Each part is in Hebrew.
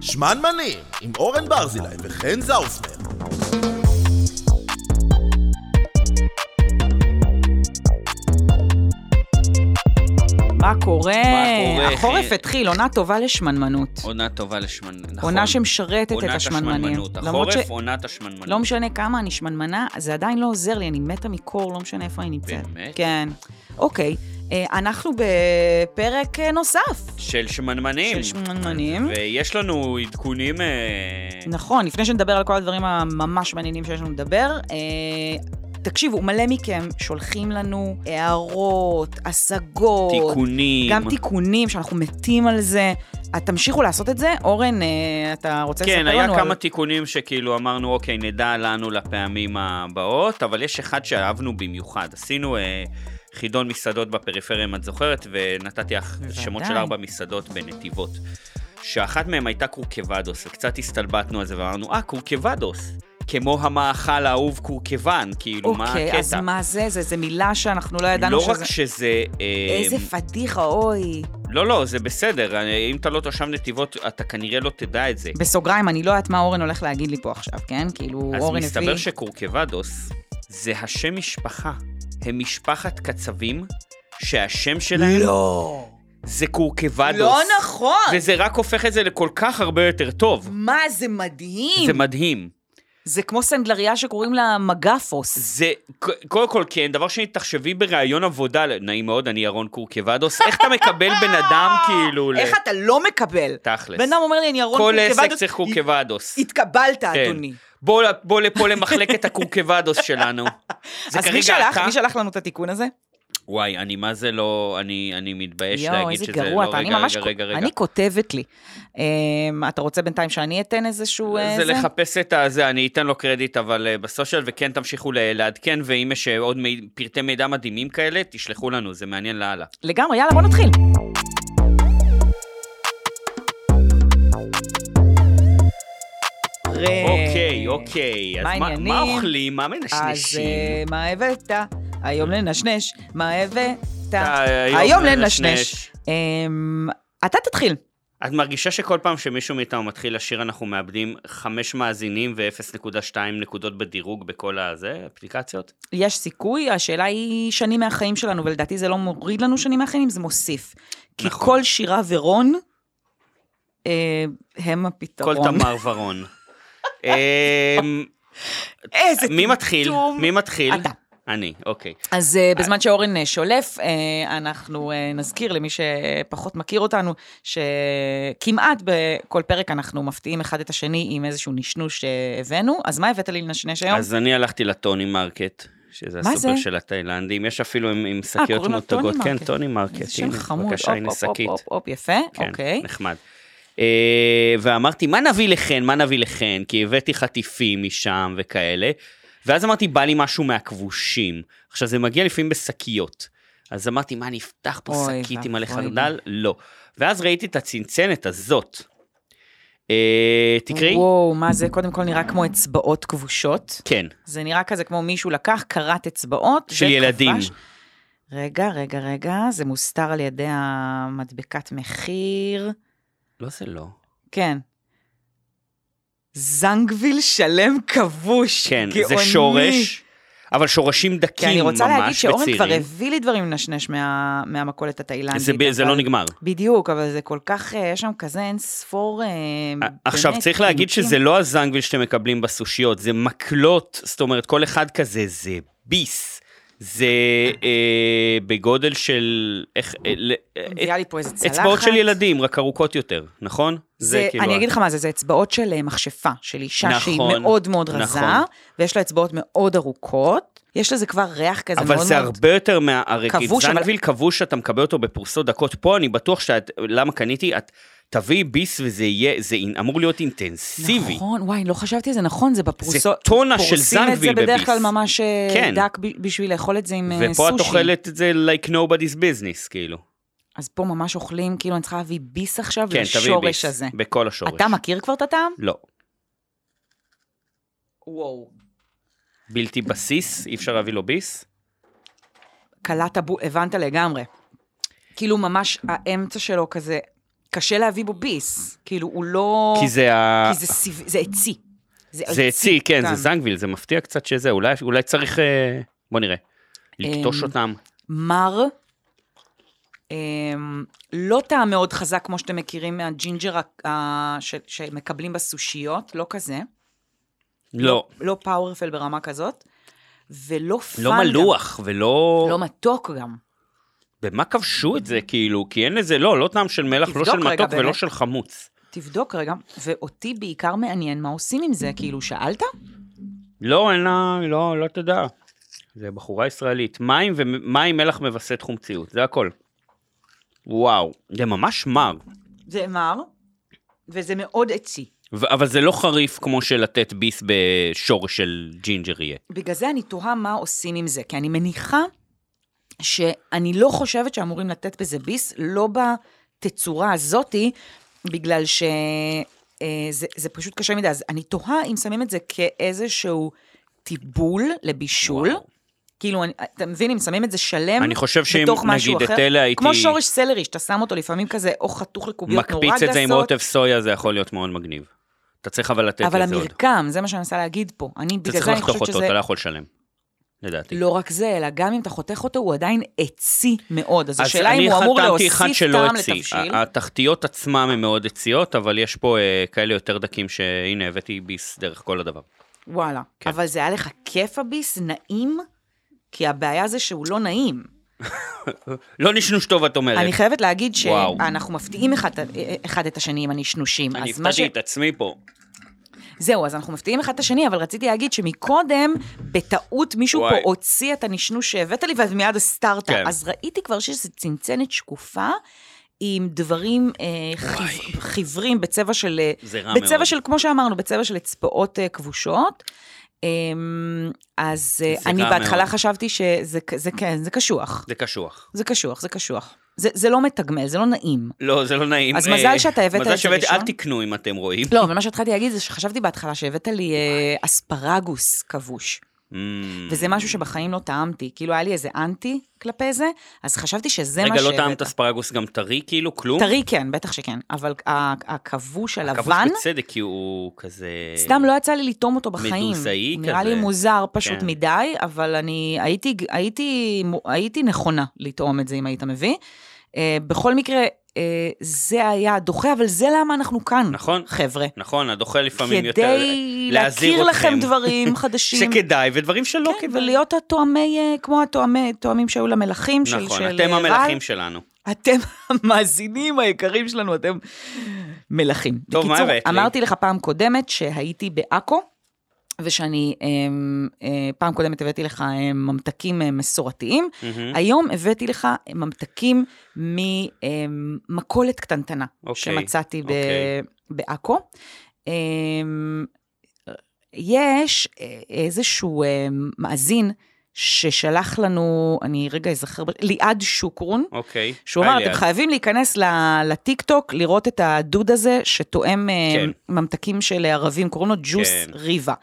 שמנמנים, עם אורן ברזילי וחן זאוסמן. מה קורה? מה קורה, החורף אחי? התחיל, עונה טובה לשמנמנות. עונה טובה לשמנ... נכון. עונה שמשרתת את עונת השמנמנים. השמנמנות. למרות החורף, ש- עונת השמנמנות. לא משנה כמה אני שמנמנה, זה עדיין לא עוזר לי, אני מתה מקור, לא משנה איפה אני נמצאת. באמת? כן. אוקיי, אה, אנחנו בפרק אה, נוסף של שמנמנים. של שמנמנים. ויש לנו עדכונים... אה, נכון, לפני שנדבר על כל הדברים הממש מעניינים שיש לנו לדבר, אה, תקשיבו, מלא מכם שולחים לנו הערות, השגות. תיקונים. גם תיקונים, שאנחנו מתים על זה. אז תמשיכו לעשות את זה. אורן, אה, אתה רוצה כן, לספר היה לנו כמה על... תיקונים שכאילו אמרנו, אוקיי, נדע לנו לפעמים הבאות, אבל יש אחד שאהבנו במיוחד. עשינו אה, חידון מסעדות בפריפריה, אם את זוכרת, ונתתי לך בוודאי. שמות של ארבע מסעדות בנתיבות. שאחת מהן הייתה קורקבדוס, וקצת הסתלבטנו על זה ואמרנו, אה, קורקבדוס, כמו המאכל האהוב קורקבן, כאילו, מה הקטע? אוקיי, אז מה זה? זה? זה מילה שאנחנו לא ידענו לא שזה... רק שזה... אה, איזה פדיחה, אוי. לא, לא, זה בסדר. אה, אם אתה לא תושב נתיבות, אתה כנראה לא תדע את זה. בסוגריים, אני לא יודעת מה אורן הולך להגיד לי פה עכשיו, כן? כאילו, אז אורן הביא... מסתבר שקורקבדוס זה השם משפחה. הם משפחת קצבים שהשם שלהם לא. זה קורקבדוס. לא נכון. וזה רק הופך את זה לכל כך הרבה יותר טוב. מה, זה מדהים. זה מדהים. זה כמו סנדלריה שקוראים לה מגפוס. זה, ק- קודם כל כן, דבר שני, תחשבי בראיון עבודה, נעים מאוד, אני ירון קורקבדוס, איך אתה מקבל בן אדם כאילו... ל- איך אתה לא מקבל? תכלס. בן אדם אומר לי, אני ארון כל עסק קורקבדוס." צריך קורקבדוס. התקבלת, כן. אדוני. בוא, ל- בוא לפה למחלקת הקורקבדוס שלנו. זה אז כרגע מי שלח, אתה? מי שלח לנו את התיקון הזה? וואי, אני מה זה לא, אני, אני מתבייש יואו, להגיד איזה שזה גרוע לא, אתה, רגע, אני רגע, ממש, רגע, רגע. אני כותבת לי. אמ, אתה רוצה בינתיים שאני אתן איזשהו... אה, זה לחפש את הזה, אני אתן לו קרדיט, אבל אה, בסושיאל, וכן תמשיכו ל- לעדכן, ואם יש אה, עוד מי- פרטי מידע מדהימים כאלה, תשלחו לנו, זה מעניין לאללה. לגמרי, יאללה, בוא נתחיל. אה, אוקיי, אוקיי, אז מה מה, העניינים? מה אוכלים? מה אז אה, מנשנשים? מה הבאת? היום לנשנש. מה הבאת? אה, היום היום לנשנש. לנשנש. אמ, אתה תתחיל. את מרגישה שכל פעם שמישהו מאיתנו מתחיל לשיר, אנחנו מאבדים חמש מאזינים ו-0.2 נקודות בדירוג בכל הזה, אפליקציות? יש סיכוי, השאלה היא שנים מהחיים שלנו, ולדעתי זה לא מוריד לנו שנים מהחיים, זה מוסיף. כי נכון. כל שירה ורון, אה, הם כל הפתרון. תמר ורון. אמ, איזה מי מתחיל? טמטום. מי מתחיל? אתה. אני, אוקיי. אז אה, בזמן שאורן אה, שולף, אה, אנחנו אה, נזכיר למי שפחות מכיר אותנו, שכמעט בכל פרק אנחנו מפתיעים אחד את השני עם איזשהו נשנוש שהבאנו. אז מה הבאת לי לנשנש היום? אז אני הלכתי לטוני מרקט, שזה מה הסופר זה? אה, של התאילנדים, יש אפילו עם- עם שקיות קוראים לו טוני מותגות. כן, מרקט. טוני מרקט, איזה שם הנה, חמוד, בבקשה, הנה הופ, הופ, שקית. הופ, הופ, יפה, כן, אוקיי. נחמד. אה, ואמרתי, מה נביא לחן? מה נביא לחן? כי הבאתי חטיפים משם וכאלה. ואז אמרתי, בא לי משהו מהכבושים. עכשיו, זה מגיע לפעמים בשקיות. אז אמרתי, מה, נפתח פה אוי שקית עם מלא ואבוי לי. חרדל? לא. ואז ראיתי את הצנצנת הזאת. אה, תקראי. וואו, מה זה? קודם כל נראה כמו אצבעות כבושות. כן. זה נראה כזה כמו מישהו לקח, כרת אצבעות. של וכבש- ילדים. רגע, רגע, רגע, זה מוסתר על ידי המדבקת מחיר. לא, זה לא. כן. זנגוויל שלם כבוש. כן, זה גאוני. שורש, אבל שורשים כי דקים ממש אני רוצה להגיד שאורן וצעירים. כבר הביא לי דברים לנשנש מה, מהמכולת התאילנדית. זה, ב- זה אבל- לא נגמר. בדיוק, אבל זה כל כך, אה, יש שם כזה אין ספור... אה, עכשיו, באמת, צריך להגיד פינוקים. שזה לא הזנגוויל שאתם מקבלים בסושיות, זה מקלות, זאת אומרת, כל אחד כזה זה ביס. זה אה, בגודל של... איך... אה, ל- אה, מביאה לי פה איזה צלחת. אצבעות של ילדים, רק ארוכות יותר, נכון? זה, כאילו אני ה- אגיד לך מה זה, זה אצבעות של אה, מכשפה, של אישה שהיא נכון, מאוד מאוד רזה, נכון. ויש לה אצבעות מאוד ארוכות, יש לזה כבר ריח כזה מאוד אבל זה מאוד... הרבה יותר מה... הרי כבוש, אבל- זנגוויל כבוש, אתה מקבל אותו בפרוסות דקות. פה אני בטוח שאת... למה קניתי? את תביאי ביס וזה יהיה... זה אינ- אמור להיות אינטנסיבי. נכון, וואי, לא חשבתי על זה, נכון, זה בפרוסות. טונה של פורסים את זה זנגוויל בדרך בביס. כלל ממש אה, כן. דק ב- בשביל לאכול את זה עם אה, סושי. ופה את אוכלת את זה like nobody's business, כאילו. אז פה ממש אוכלים, כאילו אני צריכה להביא ביס עכשיו כן, תביאי ביס. לשורש הזה. בכל השורש. אתה מכיר כבר את הטעם? לא. וואו. בלתי בסיס, אי אפשר להביא לו ביס. קלעת בול, הבנת לגמרי. כאילו ממש האמצע שלו כזה קשה להביא בו ביס. כאילו, הוא לא... כי זה ה... כי זה אה, סיב- זה עצי. אה, זה עצי, כן, גם. זה זנגוויל, זה מפתיע קצת שזה, אולי, אולי צריך, אה, בוא נראה, לקטוש אמ, אותם. מר, אמ, לא טעם מאוד חזק כמו שאתם מכירים מהג'ינג'ר ה- ה- ש- שמקבלים בסושיות, לא כזה. לא, לא פאוורפל ברמה כזאת, ולא פאן. לא גם. מלוח ולא... לא מתוק גם. במה כבשו את זה, כאילו? כי אין לזה, לא, לא טעם של מלח, לא תבדוק של רגע, מתוק ולא באמת. של חמוץ. תבדוק רגע, ואותי בעיקר מעניין מה עושים עם Mm-hmm. זה, כאילו, שאלת? לא, אין לה, לא, לא תדע. זה בחורה ישראלית. מים ומים מלח מווסת חומציות, זה הכל. וואו, זה ממש מר. זה מר, וזה מאוד עצי. ו- אבל זה לא חריף כמו שלתת ביס בשורש של ג'ינג'ר יהיה. בגלל זה אני תוהה מה עושים עם זה, כי אני מניחה שאני לא חושבת שאמורים לתת בזה ביס, לא בתצורה הזאתי, בגלל ש... אה, זה, זה פשוט קשה מדי, אז אני תוהה אם שמים את זה כאיזשהו טיבול לבישול. וואו. וואו. כאילו, אני, אתה מבין, אם שמים את זה שלם אני חושב שאם, בתוך משהו נגיד, את אחר, אלה הייתי- כמו שורש סלרי, שאתה שם אותו לפעמים כזה, או חתוך לקוביות נורא גסות. מקפיץ את זה עם רוטב סויה, זה יכול להיות מאוד מגניב. אתה צריך אבל לתת אבל לזה עוד. המרקם, זה מה שאני מנסה להגיד פה. אני, אתה בגלל צריך זה אני לחתוך חושבת אותו, שזה אתה לא יכול לשלם. לדעתי. לא רק זה, אלא גם אם אתה חותך אותו, הוא עדיין עצי מאוד. אז, השאלה אני אם הוא אמור חתמתי להוסיף אחד שלא אה, טעם הצי. לתבשיל. ה- התחתיות עצמם הן מאוד עציות, אבל יש פה אה, כאלה יותר דקים שהנה הבאתי ביס דרך כל הדבר. וואלה. כן. אבל זה היה לך כיף הביס? נעים? כי הבעיה זה שהוא לא נעים. לא נשנוש טוב את אומרת. אני חייבת להגיד וואו. שאנחנו מפתיעים אחד, אחד את השני עם הנשנושים. אני אז מה הפתעתי את עצמי פה. זהו, אז אנחנו מפתיעים אחד את השני, אבל רציתי להגיד שמקודם, בטעות מישהו וואי. פה הוציא את הנשנוש שהבאת לי, ואז מיד הסתרת. כן. כן. אז ראיתי כבר שיש איזו צנצנת שקופה. עם דברים אה, חיו- חיוורים בצבע של... אה, זה רע בצבע מאוד. של, כמו שאמרנו, בצבע של אצבעות אה, כבושות. אה, אז אה, זה אני רע בהתחלה מאוד. חשבתי שזה כ- זה כן, זה קשוח. זה קשוח. זה קשוח, זה קשוח. זה, זה לא מתגמל, זה לא נעים. לא, זה לא נעים. אז אה, מזל שאתה הבאת מזל את זה שהבאתי- ראשון. אל תקנו אם אתם רואים. לא, אבל מה שהתחלתי להגיד זה שחשבתי בהתחלה שהבאת לי אה, אספרגוס כבוש. Mm. וזה משהו שבחיים לא טעמתי. כאילו, היה לי איזה אנטי כלפי זה, אז חשבתי שזה מה רגע, שהבאת. לא טעמת אספרגוס גם טרי כאילו? כלום? טרי כן, בטח שכן, אבל ה- הכבוש כבוש הלבן, בצדק כי הוא כזה... סתם לא יצא לי לטעום אותו בחיים. מדוסאי הוא נראה כזה. לי מוזר פשוט כן. מדי, אבל אני הייתי, הייתי, הייתי נכונה לטעום את זה אם היית מביא. אה, בכל מקרה, אה, זה היה דוחה, אבל זה למה אנחנו כאן, נכון. חבר'ה. נכון, הדוחה לפעמים יותר... כדי להזהיר להכיר לכם אתכם. דברים חדשים. שכדאי ודברים שלא כן, כדאי. ולהיות התואמי, אה, כמו התואמי, התואמים שהיו למלכים של, נכון, של אתם אה, המלכים רעל. שלנו. אתם המאזינים היקרים שלנו, אתם מלכים. טוב, מה בקיצור, הבאת לי? אמרתי לך פעם קודמת שהייתי בעכו, ושאני, אמ, אה, פעם קודמת הבאתי לך אה, ממתקים אה, מסורתיים, מהמם. היום הבאתי לך ממתקים ממכולת קטנטנה אוקיי, שמצאתי ב- אוקיי. בעכו. אמ, יש אה, איזשהו אה, מאזין ששלח לנו, אני רגע אזכר, ב- ליעד שוקרון. אוקיי. שהוא היי, אמר, אתם ליעד. חייבים להיכנס ל- לטיקטוק, לראות את הדוד הזה שתואם אה, כן. ממתקים של ערבים, קוראים לו ג'וס כן. ריבה.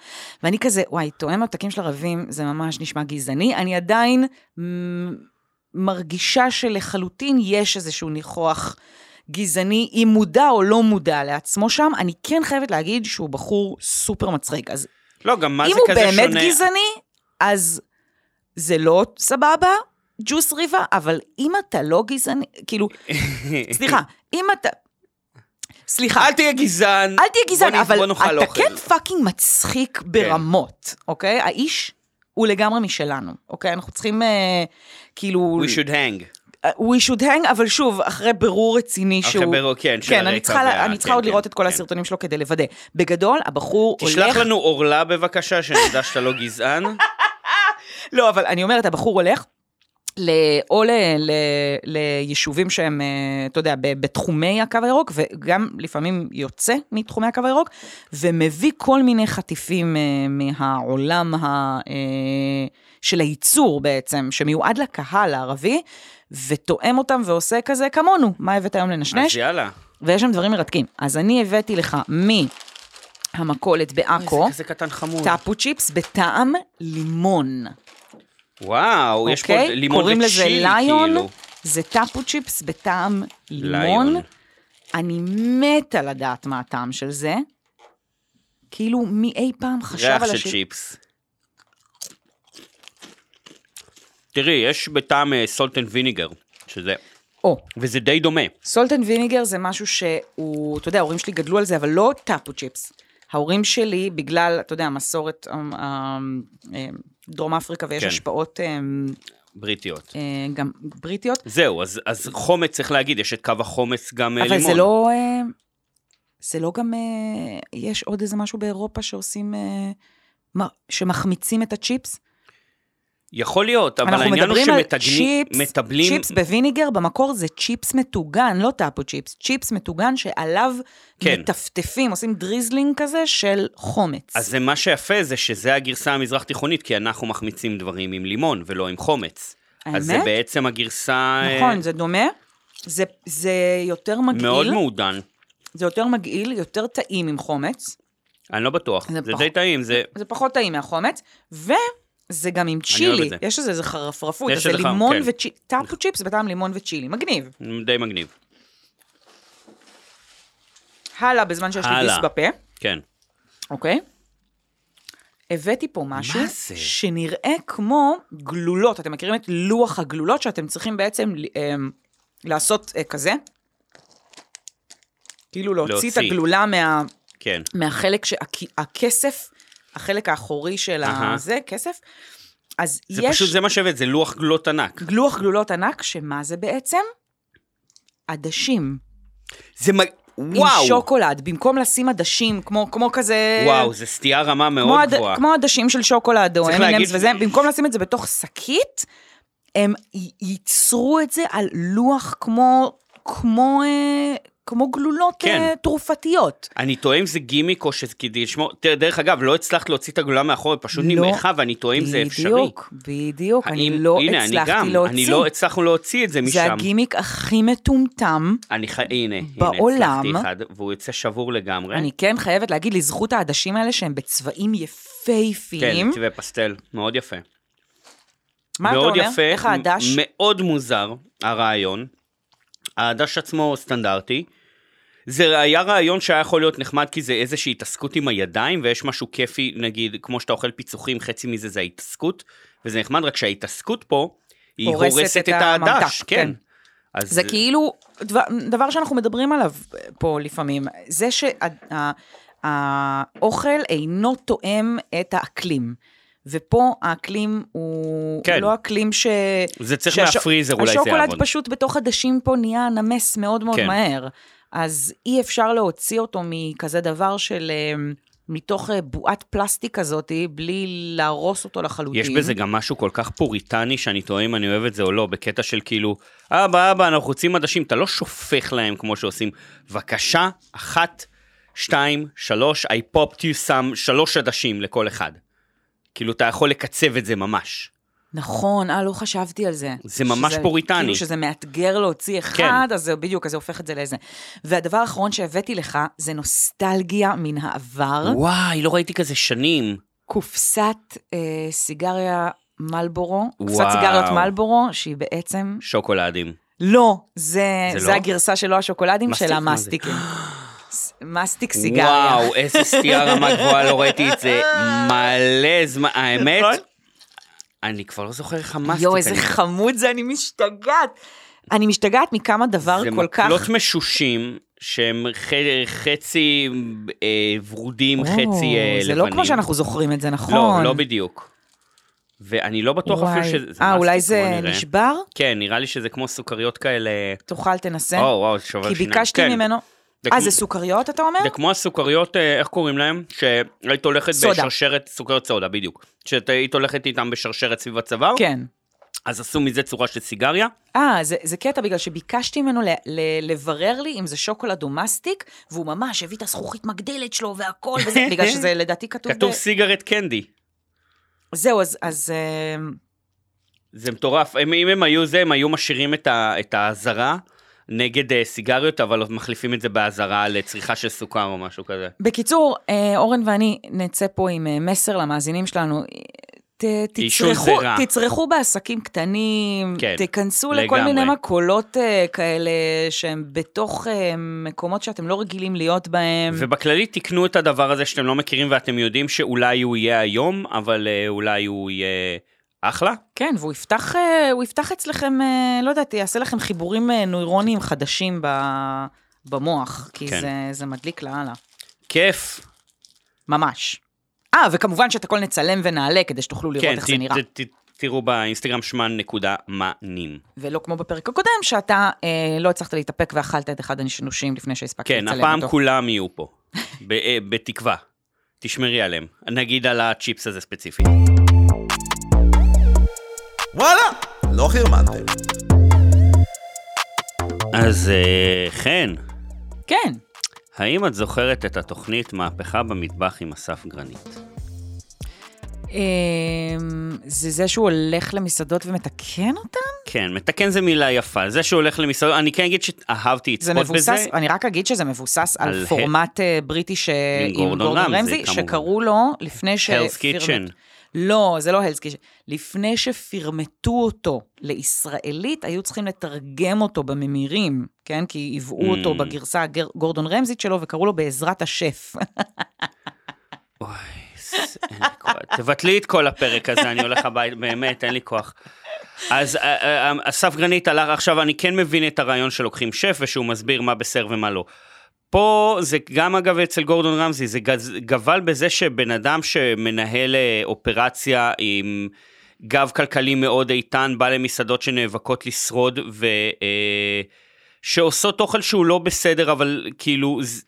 ואני כזה, וואי, תואם ממתקים של ערבים, זה ממש נשמע גזעני. אני עדיין מ, מרגישה שלחלוטין יש איזשהו ניחוח גזעני, אם מודע או לא מודע לעצמו שם. אני כן חייבת להגיד שהוא בחור סופר מצחיק. אז לא, גם מה זה אם הוא כזה שונה? באמת גזעני, אז זה לא סבבה, ג'וס ריבה, אבל אם אתה לא גזעני, כאילו, סליחה, אם אתה... סליחה, אל תהיה גזען. אל תהיה גזען, בוא נ- בוא אבל נאכל אתה אוכל. כן. כן פאקינג מצחיק ברמות, אוקיי? האיש הוא לגמרי משלנו, אוקיי? אנחנו צריכים, אה, כאילו... We should hang. אה, We should hang, אבל שוב, אחרי בירור רציני אחרי שהוא... בירור, כן, של כן, אני הרקע צריכה, וה- לה- אני צריכה כן, עוד כן, לראות את כל כן. הסרטונים שלו כדי לוודא. בגדול, הבחור הולך... תשלח לנו עורלה בבקשה, שנדע שאתה לא גזען. לא, אבל אני אומרת, הבחור הולך. ל... או ל... ל... ליישובים שהם, אה, אתה יודע, ב... בתחומי הקו הירוק, וגם לפעמים יוצא מתחומי הקו הירוק, ומביא כל מיני חטיפים אה, מהעולם ה... אה, של הייצור בעצם, שמיועד לקהל הערבי, ותואם אותם ועושה כזה כמונו, מה הבאת היום אז לנשנש? יאללה. ויש שם דברים מרתקים. אז אני הבאתי לך מהמכולת בעכו, איזה כזה קטן חמוד. טאפו צ'יפס בטעם לימון. וואו, יש פה אוקיי? לימון וצ'יל, קוראים לזה ליון, כאילו. זה טאפו צ'יפס בטעם לימון. ליון. אני מתה לדעת מה הטעם של זה. כאילו, מי אי פעם חשב ריח על של השיר- צ'יפס. תראי, יש בטעם אה, סולט אנד ויניגר, שזה, או, וזה די דומה. סולט אנד ויניגר זה משהו שהוא, אתה יודע, ההורים שלי גדלו על זה, אבל לא טאפו צ'יפס. ההורים שלי, בגלל, אתה יודע, המסורת, אמ, אמ, אמ, דרום אפריקה, ויש כן. השפעות אמ, בריטיות. אה, גם בריטיות, זהו, אז, אז חומץ צריך להגיד, יש את קו החומץ גם אה, לימון. אבל זה לא... אה, זה לא גם... אה, יש עוד איזה משהו באירופה שעושים... אה, מה- שמחמיצים את הצ'יפס? יכול להיות, אבל אנחנו העניין הוא מדברים על שמטבלים... צ'יפס, צ'יפס בוויניגר, במקור זה צ'יפס מטוגן, לא טאפו צ'יפס, צ'יפס מטוגן שעליו כן. מטפטפים, עושים דריזלינג כזה של חומץ. אז זה מה שיפה זה שזה הגרסה המזרח תיכונית, כי אנחנו מחמיצים דברים עם לימון ולא עם חומץ. אז זה האמת? בעצם הגרסה אה, נכון, זה דומה. זה, זה יותר מאוד מגעיל, מעודן. זה יותר מגעיל, יותר טעים עם חומץ, אני לא בטוח, זה זה פח- די טעים, זה... זה פחות טעים מהחומץ, וזה גם עם אוהב צ'ילי, את זה. יש איזה איזה חרפרפות, יש אז זה איזה חם, לימון כן. וצ'ילי, טאפו צ'יפס בטעם לימון וצ'ילי, מגניב. די מגניב. הלאה, בזמן שיש לי הלאה. דיס בפה, כן. אוקיי? הבאתי פה משהו מה זה? שנראה כמו גלולות, אתם מכירים את לוח הגלולות שאתם צריכים בעצם אמ, לעשות אה, כזה? כאילו להוציא את להוציא. הגלולה מה... כן. מהחלק שהכסף, החלק האחורי של אהה. הזה, כסף. אז זה יש פשוט, זה מה שהבאת, זה לוח גלות ענק. גלוח גלולות ענק, שמה זה בעצם? עדשים. זה מג... עם וואו! שוקולד. במקום לשים עדשים, כמו, כמו כזה... וואו, זה סטייה רמה כמו, מאוד עד, גבוהה. כמו עדשים של שוקולד או צריך M&M's להגיד- וזה, במקום לשים את זה בתוך שקית, הם י- ייצרו את זה על לוח כמו, כמו, אה, כמו גלולות כן. אה, תרופתיות. אני תוהה אם זה גימיק או שזה כדי לשמור... תראה, דרך אגב, לא הצלחת להוציא את הגלולה מאחור, היא פשוט לא. נמרחה, ואני תוהה אם זה אפשרי. בדיוק, בדיוק. אני האם- לא הנה, אני הצלחתי גם, להוציא. אני לא הצלחנו להוציא את זה משם. זה הגימיק הכי מטומטם. אני חי... הנה, הנה, בעולם. הצלחתי אחד, והוא יוצא שבור לגמרי. אני כן חייבת להגיד לזכות העדשים האלה שהם בצבעים כן, יפהפיים. צבעי פסטל, מאוד יפה. מה אתה כן, מאוד אומר? יפה, איך העדש? מ- מאוד מוזר הרעיון. העדש עצמו סטנדרטי. זה היה רעיון שהיה יכול להיות נחמד כי זה איזושהי התעסקות עם הידיים ויש משהו כיפי נגיד כמו שאתה אוכל פיצוחים חצי מזה זה ההתעסקות וזה נחמד רק שההתעסקות פה היא הורסת הורסת, את את העדש, הממתק, כן. כן. אז זה כאילו דבר, דבר שאנחנו מדברים עליו פה לפעמים, זה שהאוכל אינו תואם את האקלים. ופה האקלים הוא כן. כן. לא אקלים ש... זה צריך שהש- מהפריזר, אולי זה יעבוד. השוקולד פשוט בתוך עדשים פה נהיה נמס מאוד מאוד כן. כן. מהר. אז אי אפשר להוציא אותו מכזה דבר של... אמ, מתוך אה, בועת פלסטיק כזאת, בלי להרוס אותו לחלוטין. יש בזה גם משהו כל כך פוריטני שאני תוהה אם אני אוהב את זה או לא, בקטע של כאילו, אבא, אבא, אנחנו רוצים עדשים, אתה לא שופך להם כמו שעושים. בבקשה, אחת, שתיים, שלוש, I popped you some, שלוש עדשים לכל אחד. כאילו, אתה יכול לקצב את זה ממש. נכון, אה, לא חשבתי על זה. זה ממש פוריטני. כאילו שזה מאתגר להוציא אחד, כן. כן. אז זה בדיוק, אז זה הופך את זה לאיזה. והדבר האחרון שהבאתי לך, זה נוסטלגיה מן העבר. וואי, לא ראיתי כזה שנים. קופסת אה, סיגריה מלבורו, קופסת וואו. סיגריות מלבורו, שהיא בעצם... שוקולדים. לא, זה, זה זה, לא? זה הגרסה של לא השוקולדים, מסטיק, של מה זה? המסטיקים. ס- מסטיק סיגריה. וואו, איזה סטייה רמה גבוהה, לא ראיתי את זה מלא זמן. האמת, אני כבר לא זוכר איך המסטיק. נכון. יואו, איזה אני- חמוד זה, אני משתגעת. אני משתגעת מכמה דבר כל כך... זה לא מקלות משושים שהם ח... חצי אה, ורודים, או, חצי אה, לבנים. זה לא כמו שאנחנו זוכרים את זה, נכון? לא, לא בדיוק. ואני לא בטוח אפילו וואי. שזה... אה, מה אולי זה בוא זה נראה. נשבר? כן, נראה לי שזה כמו סוכריות כאלה... תאכל, תנסה. או, וואו, שובר כן. כי שיניים. ביקשתי כן. ממנו... זה אה, כמו- זה סוכריות, אתה אומר? זה כמו הסוכריות, אה, איך קוראים להם? שהיית הולכת סודה. בשרשרת, סוכריות סודה, בדיוק. שהיית הולכת איתם בשרשרת סביב הצוואר, כן. אז עשו מזה צורה של סיגריה. אה, זה, זה קטע בגלל שביקשתי ממנו ל, ל, לברר לי אם זה שוקולד או מסטיק, והוא ממש הביא את הזכוכית מגדלת שלו והכל, וזה, בגלל שזה לדעתי כתוב... כתוב ב... סיגרט קנדי. זהו, אז... אז אמ, זה מטורף, הם, אם הם היו זה, הם היו משאירים את, ה, את האזהרה נגד אה, סיגריות, אבל מחליפים את זה באזהרה לצריכה של סוכר או כן. משהו כזה. בקיצור, אה, אורן ואני נצא פה עם אה, מסר למאזינים שלנו. אה, ת, עישון תצרכו, זה רע. תצרכו בעסקים קטנים, כן, תיכנסו לכל לגמרי. מיני מקולות אה, כאלה שהם בתוך אה, מקומות שאתם לא רגילים להיות בהם. ובכללי תקנו את הדבר הזה שאתם לא מכירים ואתם יודעים שאולי הוא יהיה היום, אבל אה, אולי הוא יהיה אחלה. כן, והוא יפתח, אה, הוא יפתח אצלכם, אה, לא יודעת, יעשה לכם חיבורים אה, נוירוניים חדשים ב, במוח, כי כן. כן. זה, זה מדליק לאללה, כיף. ממש. אה, וכמובן שאת הכל נצלם ונעלה כדי שתוכלו לראות כן, כן, איך ת- זה נראה. ת- ת- תראו באינסטגרם שמן נקודה מענים. ולא כמו בפרק הקודם, שאתה אה, לא הצלחת להתאפק ואכלת את אחד הנשנושים לפני שהספקת כן, לצלם אותו. הפעם כולם יהיו פה. ב- אה, בתקווה. תשמרי עליהם. נגיד על הצ'יפס הזה ספציפית. וואלה, לא חרמנתם. אז אה, חן, כן. האם את זוכרת את התוכנית מהפכה במטבח עם אסף גרנית? אמ, זה זה שהוא הולך למסעדות ומתקן אותן? כן, מתקן זה מילה יפה. זה שהולך למסעדות, אני כן אגיד שאהבתי זה לצפות בזה. מבוסס, אני רק אגיד שזה מבוסס על על ה- פורמט אה, בריטי ש- עם עם גורדון גורדון רמזי, רמזי, כמובן. שקראו לו לפני ש... Hell's פירמט- Kitchen. לא, זה לא הלס קיצ'ן. לפני שפרמטו אותו לישראלית, היו צריכים לתרגם אותו בממירים, כן? כי היוו אותו Mm. בגרסה הגורדון רמזית שלו וקראו לו בעזרת השף. אוי, זה- אין לי כוח. תבטלי את כל הפרק הזה, אני הולך הביתה, באמת, אין לי כוח. אז אה, אה, אה, אסף גרנית הלך, עכשיו אני כן מבין את הרעיון שלוקחים שף ושהוא מסביר מה בסדר ומה לא. פה זה גם אגב אצל גורדון רמזי, זה גז- גבל בזה שבן אדם שמנהל אה, אופרציה עם גב כלכלי מאוד איתן, בא למסעדות שנאבקות לשרוד ו... אה, שעושות אוכל שהוא לא בסדר, אבל כאילו, ז-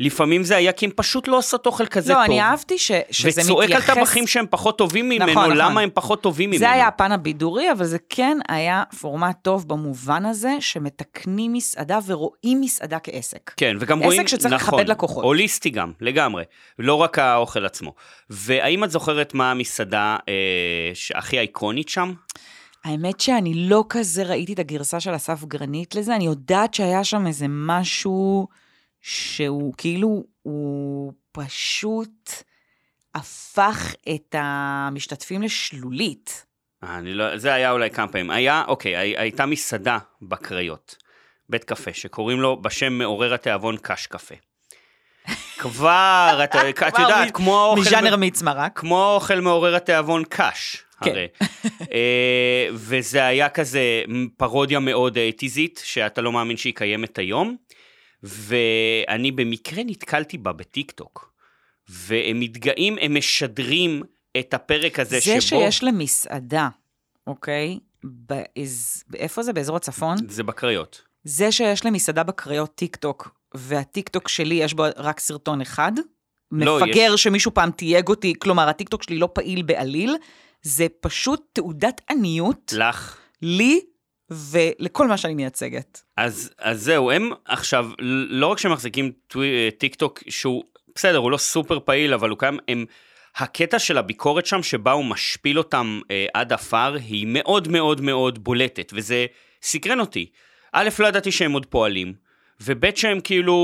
לפעמים זה היה כי הם פשוט לא עושות אוכל כזה לא, טוב. אני אהבתי ש- שזה מתייחס... וצועק על טבחים שהם פחות טובים ממנו, נכון, נכון. למה הם פחות טובים ממנו. זה היה הפן הבידורי, אבל זה כן היה פורמט טוב במובן הזה שמתקנים מסעדה ורואים מסעדה כעסק. כן, וגם עסק רואים... שצריך נכון, לכבד לקוחות. הוליסטי גם, לגמרי. לא רק האוכל עצמו. והאם את זוכרת מה המסעדה אה, הכי איקונית שם? האמת שאני לא כזה ראיתי את הגרסה של אסף גרנית לזה, אני יודעת שהיה שם איזה משהו שהוא כאילו, הוא פשוט הפך את המשתתפים לשלולית. אה, אני לא... זה היה אולי כמה פעמים. היה, אוקיי, הי, הייתה מסעדה בקריות, בית קפה, שקוראים לו בשם מעורר התיאבון קש קפה. כבר, את, את כבר יודעת, מ- כמו האוכל... מז'אנר מיץ מרק. כמו אוכל מעורר התיאבון קש, כן. הרי. אה, וזה היה כזה פרודיה מאוד אייטיזית, שאתה לא מאמין שהיא קיימת היום. ואני במקרה נתקלתי בה בטיקטוק. והם מתגאים, הם משדרים את הפרק הזה זה, שבו... שיש למסעדה, אוקיי? באיז... איפה זה? באזור הצפון? זה בקריות. זה שיש למסעדה בקריות טיק טוק, והטיק טוק שלי יש בו רק סרטון אחד, לא, מפגר שמישהו פעם תייג אותי, כלומר, הטיק טוק שלי לא פעיל בעליל, זה פשוט תעודת עניות לך. לי ולכל מה שאני מייצגת. אז, אז זהו, הם עכשיו, לא רק שהם מחזיקים טווי- טיק טוק, שהוא, בסדר, הוא לא סופר פעיל, אבל הוא קיים, הם, הקטע של הביקורת שם, שבה הוא משפיל אותם אה, עד עפר, היא מאוד מאוד מאוד בולטת, וזה סקרן אותי. א', לא ידעתי שהם עוד פועלים, וב', שהם כאילו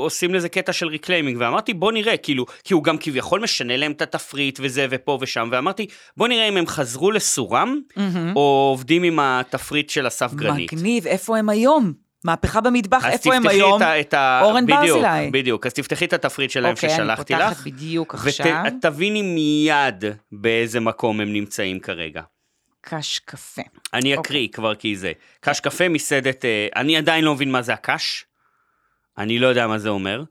עושים לזה קטע של ריקליימינג, ואמרתי, בוא נראה, כאילו, כי הוא גם כביכול משנה להם את התפריט וזה ופה ושם, ואמרתי, בוא נראה אם הם חזרו לסורם, או עובדים עם התפריט של אסף גרנית. מגניב, איפה הם היום? מהפכה במטבח, איפה הם היום? אז תפתחי את ה- את ה... אורן בדיוק, ברזילי. בדיוק, אז תפתחי את התפריט שלהם אוקיי, אני ששלחתי פותחת לך, בדיוק עכשיו. ותביני מיד באיזה מקום הם נמצאים כרגע. קש קפה. אני אקריא כבר כי זה. קש קפה מסעדת, אה, אני עדיין לא מבין מה זה הקש, אני לא יודע מה זה אומר,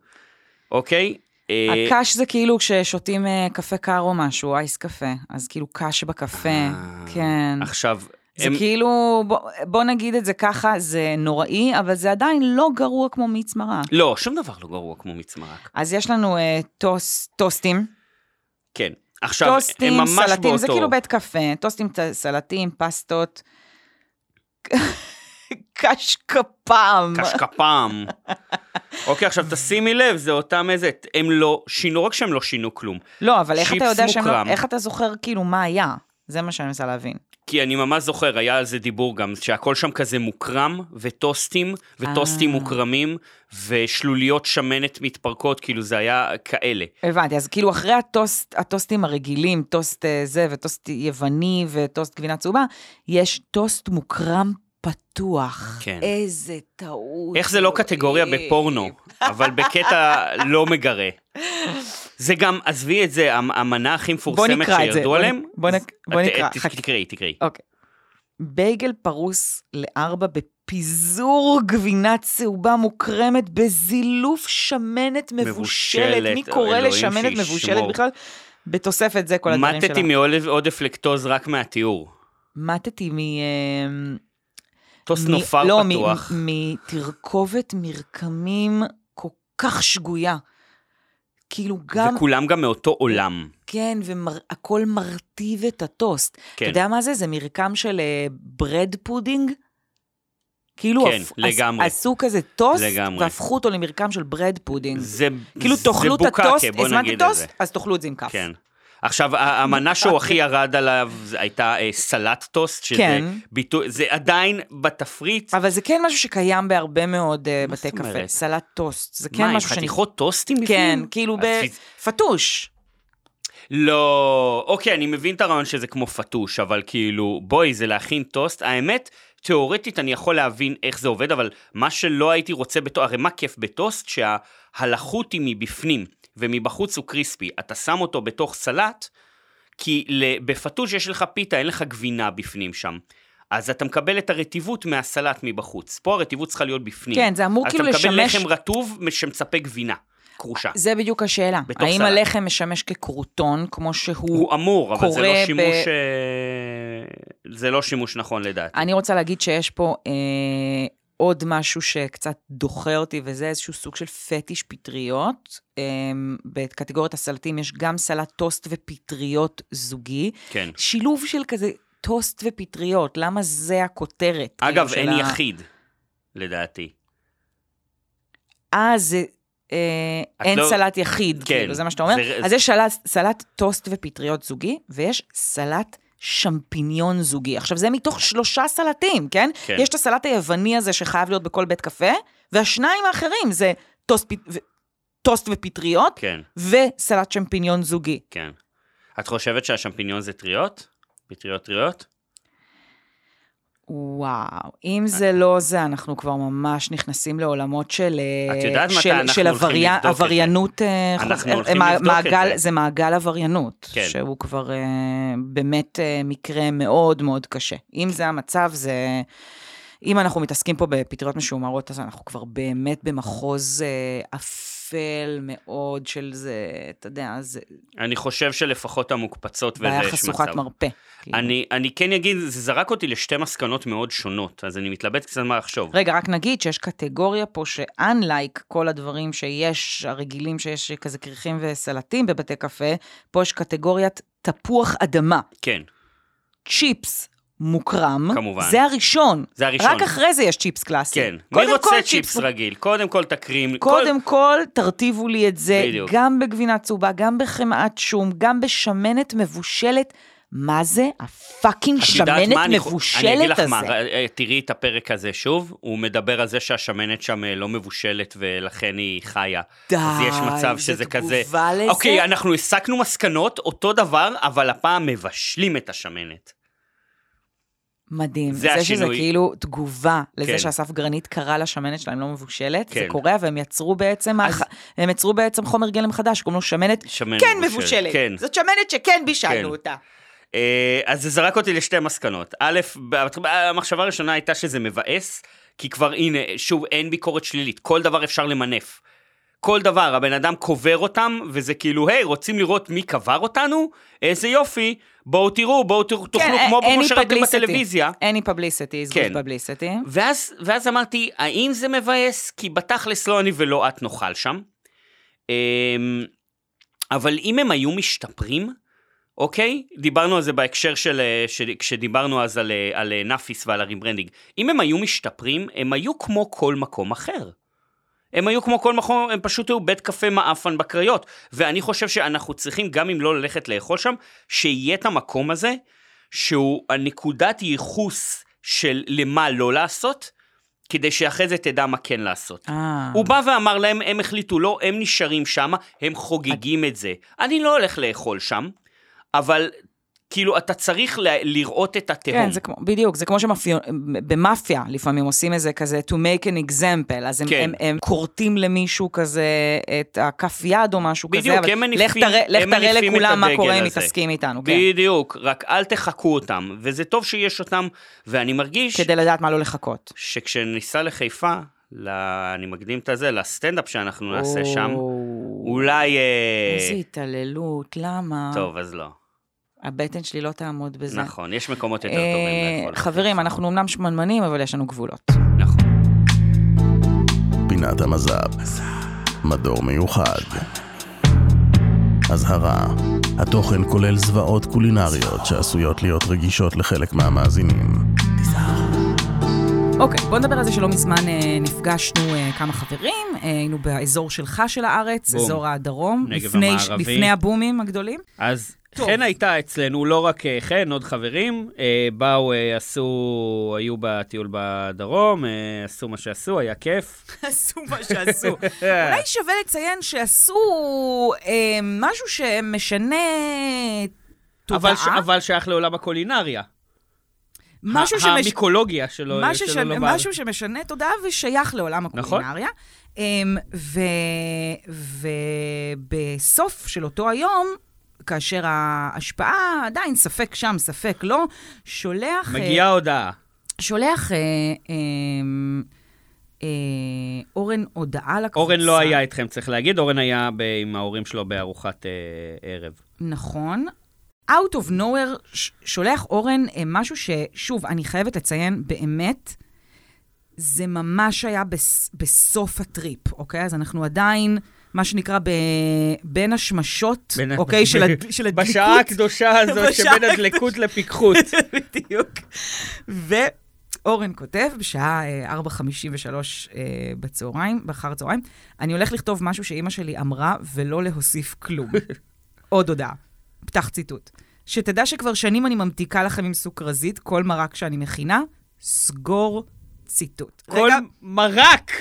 אוקיי? אה, הקש זה כאילו כששותים אה, קפה קר או משהו, אייס קפה, אז כאילו קש בקפה, אה, כן. עכשיו, זה הם- כאילו, בוא, בוא נגיד את זה ככה, זה נוראי, אבל זה עדיין לא גרוע כמו מיץ מרק. לא, שום דבר לא גרוע כמו מיץ מרק. אז יש לנו אה, טוס, טוסטים, כן. עכשיו, הם טוסטים, ממש סלטים, באותו... זה כאילו בית קפה, טוסטים, ט- סלטים, פסטות, קש כפם. קשקפם. אוקיי, עכשיו תשימי לב, זה אותם איזה, הם לא שינו, רק שהם לא שינו כלום. לא, אבל איך צ'יפס אתה יודע שהם לא, מוקרם. איך אתה זוכר כאילו מה היה? זה מה שאני מנסה להבין. כי אני ממש זוכר, היה על זה דיבור גם, שהכל שם כזה מוקרם, וטוסטים, וטוסטים אה. מוקרמים, ושלוליות שמנת מתפרקות, כאילו זה היה כאלה. הבנתי, אז כאילו אחרי הטוסט, הטוסטים הרגילים, טוסט אה, זה וטוסט יווני וטוסט גבינה צהובה, יש טוסט מוקרם פתוח. כן. איזה טעות. איך זה לא קטגוריה אלוהים. בפורנו, אבל בקטע לא מגרה. זה גם, עזבי את זה, המ- המנה הכי מפורסמת נקרא את זה, שירדו בוא נ- עליהם. בוא נק- אז בוא את- נקרא, את- חכי. תקראי, תקראי. בייגל פרוס לארבע בפיזור גבינה צהובה מוקרמת בזילוף שמנת מבושלת. מבושלת, מי קורא אלוהים לשמנת שישמור. מבושלת בכלל? בתוספת זה כל הדברים שלה. מתתי מעודף עודף לקטוז רק מהתיאור. מתתי מ... אה, טוס מ- נופר לא, מ- פתוח. מ- מתרכובת מרקמים כל כך שגויה. כאילו גם, וכולם גם מאותו עולם. כן, והכל מרטיב את הטוסט. כן. אתה יודע מה זה? זה מרקם של אה, ברד פודינג. כאילו, כן, עש- לגמרי. עשו כזה טוסט, לגמרי. והפכו אותו למרקם של ברד פודינג. זה כאילו, זה תאכלו את בוקקה, כן, אוקיי, הטוסט, בוא הזמנת נגיד את טוסט, זה. אז תאכלו את זה עם כף. כן. עכשיו, ה- המנה שהוא הכי ירד עליו זה הייתה אה, סלט טוסט, שזה כן. ביטוי, זה עדיין בתפריט. אבל זה כן משהו שקיים בהרבה מאוד אה, מה בתי זאת קפה. אומרת? סלט טוסט, זה מה, כן עם משהו שאני... חתיכות טוסטים כן, בפנים? כאילו אז זה- בפטוש. לא, אוקיי, אני מבין את הרעיון שזה כמו פטוש, אבל כאילו, בואי, זה להכין טוסט. האמת, תיאורטית אני יכול להבין איך זה עובד, אבל מה שלא הייתי רוצה בטוסט, הרי מה כיף בטוסט? שהלחות היא מבפנים, ומבחוץ הוא קריספי. אתה שם אותו בתוך סלט, כי ל- בפטוש יש לך פיתה, אין לך גבינה בפנים שם. אז אתה מקבל את הרטיבות מהסלט מבחוץ. פה הרטיבות צריכה להיות בפנים. כן, זה אמור כאילו אז אתה מקבל לשמש- לחם רטוב שמצפה גבינה, כרושה. זה בדיוק השאלה. בתוך האם סלט. הלחם משמש כקרוטון, כמו שהוא... הוא אמור, אבל זה קורה לא ב- שימוש... אה, זה לא שימוש נכון לדעתי. אני רוצה להגיד שיש פה אה, עוד משהו שקצת דוחה אותי, וזה איזשהו סוג של פטיש פטריות. אה, בקטגוריית הסלטים יש גם סלט טוסט ופטריות זוגי. כן. שילוב של כזה טוסט ופטריות, למה זה הכותרת? כאילו, אגב, של אין ה- יחיד, לדעתי. אה, זה... אה, את אין לא- סלט יחיד, כן, כאילו, זה מה שאתה אומר. זה- אז יש סלט, סלט טוסט ופטריות זוגי, ויש סלט שמפיניון זוגי. עכשיו, זה מתוך שלושה סלטים, כן? כן. יש את הסלט היווני הזה שחייב להיות בכל בית קפה, והשניים האחרים זה טוסט, פ- ו- טוסט ופטריות, כן, וסלט שמפיניון זוגי. כן. את חושבת שהשמפיניון זה טריות? פטריות טריות? וואו, אם אה. זה לא זה, אנחנו כבר ממש נכנסים לעולמות של... אה, את יודעת מתי של- אנחנו של הולכים עבריין- לבדוק את זה. עבריינות... אה, אנחנו חוז- אה, הולכים מע- לבדוק את מעגל- זה. זה מעגל עבריינות, כן. שהוא כבר אה, באמת אה, מקרה מאוד מאוד קשה. אם זה המצב, זה... אם אנחנו מתעסקים פה בפטריות משומרות, אז אנחנו כבר באמת במחוז אה, אפל מאוד של זה, אתה יודע, זה אני חושב שלפחות המוקפצות וזה בעיה יש חשוכת מצב. מרפא. כאילו. אני, אני כן אגיד, זה זרק אותי לשתי מסקנות מאוד שונות, אז אני מתלבט קצת מה לחשוב. רגע, רק נגיד שיש קטגוריה פה ש-unlike כל הדברים שיש, הרגילים שיש כזה קרחים וסלטים בבתי קפה, פה יש קטגוריית תפוח אדמה, כן, צ'יפס מוקרם. כמובן. זה הראשון. זה הראשון. רק אחרי זה יש צ'יפס קלאסי. כן. מי קודם רוצה כל צ'יפס מוק- רגיל? קודם כל תקרים. קודם כל, תרטיבו לי את זה, בדיוק. גם בגבינה צהובה, גם בחמאת שום, גם בשמנת מבושלת. מה זה הפאקינג את יודעת שמנת מה? אני חו- אני אגיד מבושלת לך מה, הזה? אה, תראי את הפרק הזה שוב, הוא מדבר על זה שהשמנת שם אה, לא מבושלת ולכן היא חיה. די, אז יש מצב זה שזה כזה... תגובה לזה? אוקיי, אנחנו הסקנו מסקנות, אותו דבר, אבל הפעם מבשלים את השמנת. מדהים. זה זה, זה שזה השינוי. כאילו תגובה לזה כן. שאסף גרנית קרא לשמנת שלהם לא מבושלת, זה כן. קורה, והם יצרו בעצם, אז... הם יצרו בעצם חומר גלם חדש, קוראים לו שמנת, שמנת כן מבושלת, מבושלת. כן. זאת שמנת שכן בישלנו כן. אותה. אה, אז זה זרק אותי לשתי מסקנות. א', בת- המחשבה הראשונה הייתה שזה מבאס, כי כבר הנה, שוב, אין ביקורת שלילית, כל דבר אפשר למנף. כל דבר, הבן אדם קובר אותם, וזה כאילו, היי, רוצים לראות מי קבר אותנו? איזה יופי, בואו תראו, בואו תראו, תאכלו אין- כמו אין לי שראיתם כן, אה, publicity. בטלוויזיה. אין לי פבליסטי, איז גוד כן. פבליסטי. ואז, ואז אמרתי, האם זה מבאס? כי בתכלס לא אני ולא את נאכל שם. אמ, אבל אם הם היו משתפרים, אוקיי? דיברנו על זה בהקשר של... אה, ש- כשדיברנו אז על, אה, על אה, נאפיס ועל הריברנדינג. אם הם היו משתפרים, הם היו כמו כל מקום אחר. הם היו כמו כל מקום, הם פשוט היו בית קפה מעפן בקריות. ואני חושב שאנחנו צריכים, גם אם לא ללכת לאכול שם, שיהיה את המקום הזה, שהוא הנקודת ייחוס של למה לא לעשות, כדי שאחרי זה תדע מה כן לעשות. אה, הוא בא ואמר להם, הם החליטו לא, הם נשארים שם, הם חוגגים את זה. אני לא הולך לאכול שם, אבל כאילו, אתה צריך ל- לראות את התהום. כן, זה כמו, בדיוק, זה כמו שבמאפיה לפעמים עושים איזה כזה to make an example, אז הם, כן. הם, הם כורתים למישהו כזה את הכף יד או משהו בדיוק, כזה, אבל הם מניפים- לך תראה, לך הם תראה מניפים את לכולם מה הדגל קורה אם הזה. מתעסקים איתנו, כן, בדיוק, רק אל תחקו אותם, וזה טוב שיש אותם, ואני מרגיש כדי לדעת מה לא לחכות. שכשניסע לחיפה, ל... אני מקדים את הזה, לסטנדאפ שאנחנו נעשה שם, או, אולי... אה, איזה התעללות, למה? טוב, אז לא. הבטן שלי לא תעמוד בזה. נכון, יש מקומות יותר אה, טובים לאכול. חברים, אנחנו אמנם שמנמנים, אבל יש לנו גבולות. נכון. פינת המזל. מדור מיוחד. אזהרה, התוכן כולל זוועות קולינריות שעשויות להיות רגישות לחלק מהמאזינים. אוקיי, בוא נדבר על זה שלא מזמן אה, נפגשנו אה, כמה חברים, אה, היינו באזור שלך של הארץ, בום. אזור הדרום, נגב לפני- המערבי. לפני הבומים הגדולים. אז טוב. חן הייתה אצלנו, לא רק אה, חן, עוד חברים, אה, באו, אה, עשו, היו בטיול בדרום, אה, עשו מה שעשו, היה כיף. עשו מה שעשו. אולי שווה לציין שעשו אה, משהו שמשנה אבל ש- תודעה, אבל שייך לעולם הקולינריה. משהו ה- שמש- המיקולוגיה שלו, משהו, ש... שלו לא בארץ. משהו שמשנה תודעה ושייך לעולם הקולינריה. נכון. ובסוף של אותו היום, כאשר ההשפעה עדיין ספק שם, ספק לא, שולח... אה, מגיעה הודעה. שולח אה, אה, אה, אורן הודעה לקבוצה. אורן לא היה איתכם, צריך להגיד, אורן היה ב- עם ההורים שלו בארוחת אה, ערב. נכון. Out of nowhere ש- שולח אורן אה, משהו ששוב, אני חייבת לציין, באמת, זה ממש היה בס, בסוף הטריפ, אוקיי? אז אנחנו עדיין, מה שנקרא, ב, בין השמשות, בין ה- אוקיי? של, הד, של הדליקות. בשעה הקדושה הזאת, בשעה שבין הדלקות לפיקחות. בדיוק. ואורן כותב, בשעה אה, 4.53 אה, בצהריים, באחר הצהריים, אני הולך לכתוב משהו שאימא שלי אמרה, ולא להוסיף כלום. עוד הודעה. פתח ציטוט. שתדע שכבר שנים אני ממתיקה לכם עם סוכרזית, כל מרק שאני מכינה, סגור ציטוט. כל רגע, מרק!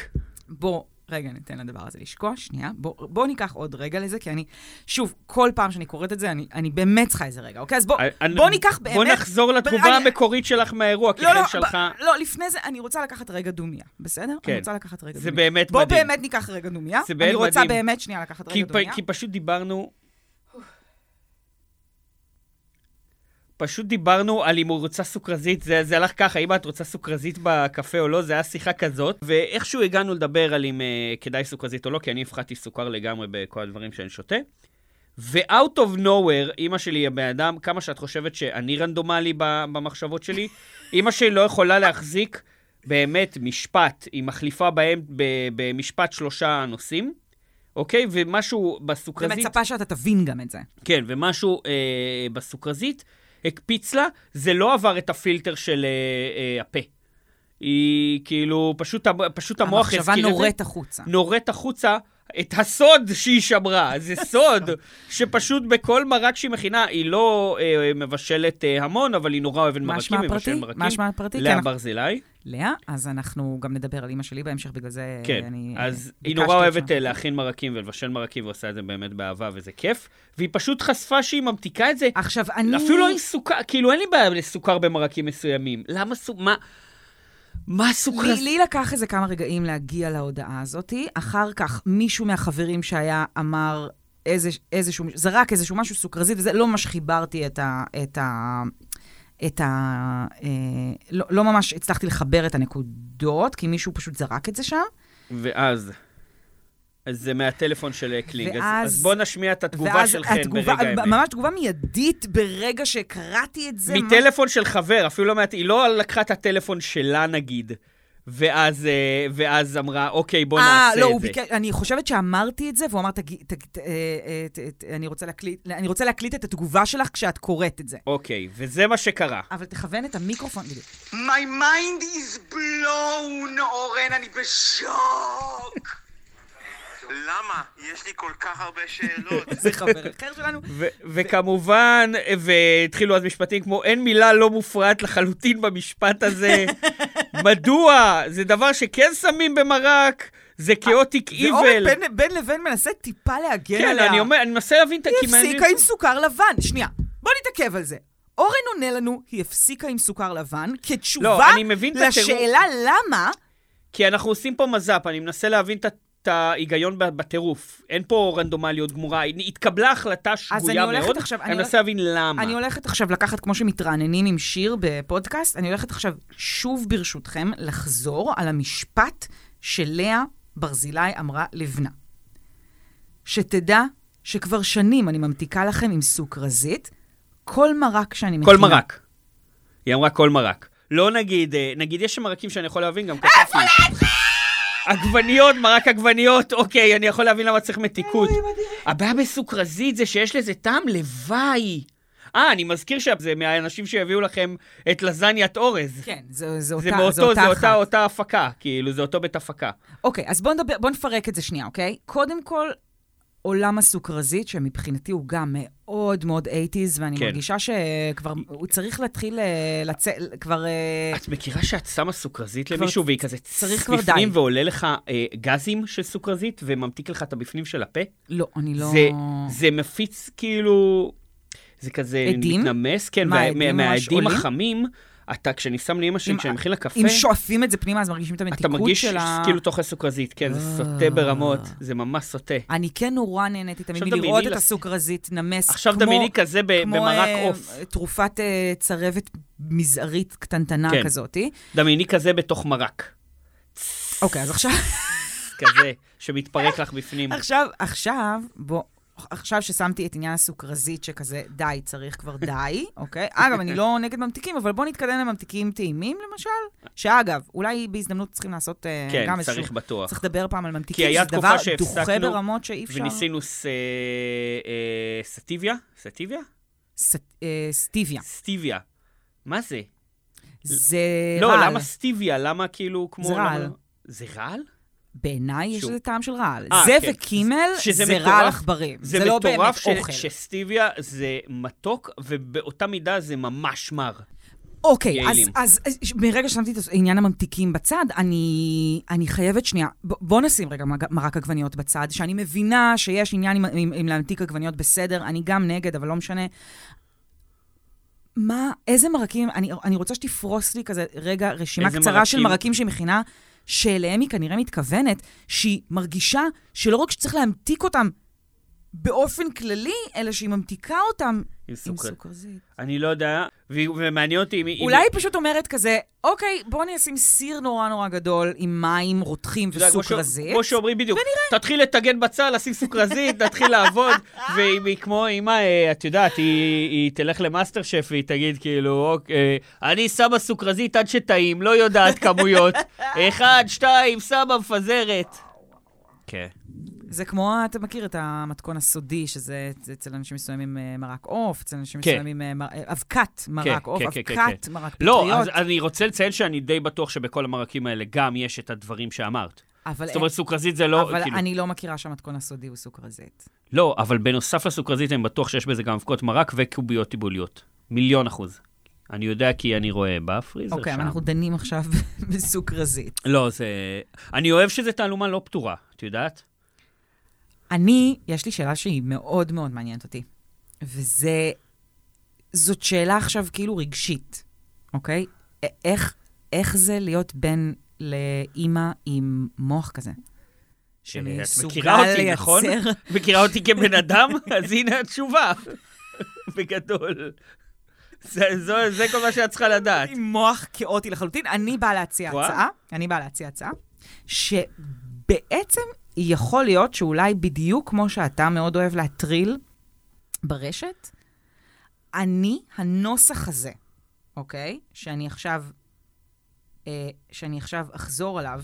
בוא, רגע, ניתן לדבר הזה לשקוע, שנייה. בוא, בוא ניקח עוד רגע לזה, כי אני, שוב, כל פעם שאני קוראת את זה, אני, אני באמת צריכה איזה רגע, אוקיי? אז בוא, אני- בוא ניקח באמת... בוא נחזור לתגובה אני- המקורית שלך מהאירוע, כי לא, לא, חן שלחה... ב- לא, לפני זה אני רוצה לקחת רגע דומיה, בסדר? כן. אני רוצה לקחת רגע זה דומיה. באמת בוא מדהים. באמת ניקח רגע דומיה. זה באמת אני רוצה מדהים. באמת שנייה לקחת כי, רגע פ, דומיה. כי פשוט דיברנו... פשוט דיברנו על אם הוא רוצה סוכרזית, זה, זה הלך ככה, אם את רוצה סוכרזית בקפה או לא, זה היה שיחה כזאת, ואיכשהו הגענו לדבר על אם uh, כדאי סוכרזית או לא, כי אני הפחדתי סוכר לגמרי בכל הדברים שאני שותה. ו-out of nowhere, אימא שלי היא הבן אדם, כמה שאת חושבת שאני רנדומלי ב- במחשבות שלי, אימא שלי לא יכולה להחזיק באמת משפט, היא מחליפה בהם ב- במשפט שלושה נושאים, אוקיי? ומשהו בסוכרזית... ומצפה שאתה תבין גם את זה. כן, ומשהו אה, בסוכרזית הקפיץ לה, זה לא עבר את הפילטר של אה, אה, הפה. היא כאילו, פשוט, המ- פשוט המוח הזכיר את זה. המחשבה נורית החוצה. נורית החוצה את הסוד שהיא שמרה. זה סוד שפשוט בכל מרק שהיא מכינה, היא לא אה, מבשלת אה, המון, אבל היא נורא אוהבת מה מרקים, שמה היא מבשלת הפרטי? מרקים. מה שמה הפרטי? כן, לאה אנחנו- ברזילי, לאה, אז אנחנו גם נדבר על אימא שלי בהמשך, בגלל זה כן. אני... אה, אז היא ביקשתי נורא אוהבת עכשיו. אה, להכין מרקים ולבשל מרקים, ועושה את זה באמת באהבה, וזה כיף. והיא פשוט חשפה שהיא ממתיקה את זה. עכשיו, אני... אפילו לא עם סוכר, כאילו אין לי בעיה לסוכר במרקים מסוימים. למה סוכר? מה? מה סוכר? לי, לי לקח איזה כמה רגעים להגיע להודעה הזאת. אחר כך מישהו מהחברים שהיה אמר איזה, איזשהו, זרק איזשהו משהו סוכרזית, וזה לא ממש חיברתי את ה... את ה את ה... אה, לא, לא ממש הצלחתי לחבר את הנקודות, כי מישהו פשוט זרק את זה שם. ואז, אז זה מהטלפון של אה, קלינג, אז, ואז- אז בוא נשמיע את התגובה ואז של חן התגובה, ברגע האמת. ממש תגובה מיידית ברגע שקראתי את זה. ממש- מטלפון של חבר, אפילו לא מעט, היא לא לקחה את הטלפון שלה נגיד, ואז, אה, ואז אמרה, אוקיי, בוא נעשה אה, את זה. לא, הוא ביקש, אני חושבת שאמרתי את זה, והוא אמר, תגיד, תגיד, אה, אה, ת- ת- אני רוצה להקליט- אני רוצה להקליט את התגובה שלך כשאת קוראת את זה. אוקיי, וזה מה שקרה. אבל תכוון את המיקרופון, בדיוק. My mind is blown, אורן, אני בשוק. למה? יש לי כל כך הרבה שאלות. זה חבר אחר שלנו. ו- וכמובן, והתחילו אז משפטים כמו, אין מילה לא מופרעת לחלוטין במשפט הזה. מדוע? זה דבר שכן שמים במרק, זה כאוטיק איבל. ואורן בין- בין לבין מנסה טיפה להגן כן, עליה. אני אומר, אני מנסה להבין את היא הקימניות. הפסיקה עם סוכר לבן. שנייה, בוא נתעכב על זה. אורן עונה לנו, היא הפסיקה עם סוכר לבן, לא, כתשובה אני מבין את הטירוף. לשאלה למה, כי אנחנו עושים פה מז"פ, אני מנסה להבין את ה- את ההיגיון ב- בטירוף. אין פה רנדומליות גמורה, היא- התקבלה החלטה שגויה הולכת מאוד, עכשיו- אני אני מנסה להבין למה. אני הולכת עכשיו לקחת, כמו שמתרעננים עם שיר בפודקאסט, אני הולכת עכשיו שוב, ברשותכם, לחזור על המשפט שלאה ברזילי אמרה לבנה. שתדע שכבר שנים אני ממתיקה לכם עם סוג רזית, כל מרק שאני מכינה. כל מרק. היא אמרה כל מרק. לא נגיד, אה, נגיד יש מרקים שאני יכול להבין גם כתבתי. איפה להתחיל? עגבניות, מרק עגבניות, אוקיי, אני יכול להבין למה צריך מתיקות. הבעיה בסוכרזית זה שיש לזה טעם לוואי. אה, אני מזכיר שזה מהאנשים שהביאו לכם את לזניית אורז. כן, זו, זו זה אותה, זו באותו, אותה זה אחת. אותה, אותה הפקה, כאילו, זה אותו בית הפקה. אוקיי, אז בואו נדבר, בואו נפרק את זה שנייה, אוקיי? קודם כל, עולם הסוכרזית, שמבחינתי הוא גם מאוד מאוד 80's, ואני כן. כן. מרגישה שכבר, הוא צריך להתחיל לצאת, כבר... אה, את מכירה שאת שמה סוכרזית למישהו והיא כזה צריך צס כבר בפנים די. ועולה לך אה, גזים של סוכרזית וממתיק לך את הבפנים של הפה? לא, אני לא... זה, זה מפיץ כאילו, זה כזה עדים? מתנמס, כן, מה, וה- העדים מה- ממש מהעדים עולים? החמים, אתה, כשאני שם לאמא שלי, אם- כשאני מכין לה קפה, אם שואפים את זה פנימה, אז מרגישים את אתה המתיקות מרגיש של ה... כאילו אתה אוכל סוכרזית, כן, זה סוטה ברמות, אה. זה ממש סוטה. אני כן נורא נהניתי תמיד עכשיו דמייני מלראות את לך- הסוכרזית נמס, עכשיו כמו- דמייני כזה ב- כמו, במרק אה, עוף, תרופת אה, צרבת מזערית קטנטנה כן. כזאתי. דמייני כזה בתוך מרק, אוקיי, אז עכשיו... כזה, שמתפרק לך בפנים. עכשיו, עכשיו, בוא, עכשיו ששמתי את עניין הסוכרזית, שכזה, די, צריך כבר די, אוקיי? אגב, אני לא נגד ממתיקים, אבל בואו נתקדם לממתיקים טעימים, למשל, שאגב, אולי בהזדמנות צריכים לעשות אה, כן, גם צריך איזשהו... בטוח. צריך לדבר פעם על כי ממתיקים, היה שזה כאילו, דבר תקופה דוחה שהפסקנו ברמות שאי אפשר... וניסינו ס- אה, סטיביה? סטיביה? ס- אה, סטיביה. סטיביה. מה זה? זה לא, רעל. למה סטיביה? למה כאילו כמו... זה רעל. למה- זה רעל? בעיניי יש שוב. לזה טעם של רעל. אה, זה כן. וקימל שזה זה מטורף. רעל עכברים. זה, לא באמת מטורף ש- אוכל. שסטיביה זה מתוק, ובאותה מידה זה ממש מר. אוקיי, אז, יעילים. אז, אז ש- מרגע ששמתי את עניין הממתיקים בצד, אני, אני חייבת שנייה, ב, בוא נשים רגע מג- מרק עגבניות בצד, שאני מבינה שיש עניין עם, עם, עם להמתיק עגבניות בסדר, אני גם נגד, אבל לא משנה. מה, איזה מרקים, אני, אני רוצה שתפרוס לי כזה רגע רשימה איזה קצרה של מרקים? מרקים שהיא מכינה, שאליהם היא כנראה מתכוונת, שהיא מרגישה שלא רק שצריך להמתיק אותם באופן כללי, אלא שהיא ממתיקה אותם עם עם סוכר. סוכרזית. אני לא יודע, ו- ומעניין אותי אם... אולי היא פשוט אומרת כזה, אוקיי, בוא נשים סיר נורא נורא גדול עם מים רותחים אתה יודע, כמו ש- וסוכרזית. כמו שאומרים בדיוק, תתחיל לטגן בצל, לשים סוכרזית, תתחיל לעבוד, והיא כמו אימא, אה, את יודעת, היא היא תלך למאסטר שף והיא תגיד כאילו, "אוקיי, אה, אני שמה סוכרזית עד שטעים, לא יודעת כמויות, אחד, שתיים, שמה מפזרת. כן. זה כמו, אתה מכיר את המתכון הסודי, שזה אצ- אצל אנשים מסוימים אה, מרק עוף, אצל אנשים כן. מסוימים אה, מר- אה, אבקת מרק עוף, כן, כן, כן, אבקת מרק פטריות. לא, אז אני רוצה לציין שאני די בטוח שבכל המרקים האלה גם יש את הדברים שאמרת. אבל זאת אין- אומרת, סוכרזית זה לא, אבל כאילו... אני לא מכירה שהמתכון הסודי הוא סוכרזית. לא, אבל בנוסף לסוכרזית, אני בטוח שיש בזה גם אבקות מרק וקוביות טיבוליות. מיליון אחוז. אני יודע כי אני רואה בפריזר אוקיי, שם. אבל אנחנו דנים עכשיו בסוכרזית. לא, זה... אני אוהב שזה תעלומה לא פתורה, את יודעת? אני, יש לי שאלה שהיא מאוד מאוד מעניינת אותי, וזה, זאת שאלה עכשיו כאילו רגשית, אוקיי? א- איך, איך זה להיות בן לאימא עם מוח כזה? כן, את מכירה אותי, נכון? מכירה אותי כבן אדם? אז הנה התשובה. בגדול. זה, זו- זה כל מה שאת צריכה לדעת. עם מוח כאוטי לחלוטין. אני באה להציע רואה? הצעה, אני באה להציע הצעה, שבעצם יכול להיות שאולי בדיוק כמו שאתה מאוד אוהב להטריל ברשת, אני, הנוסח הזה, אוקיי? שאני עכשיו, אה, שאני עכשיו אחזור עליו,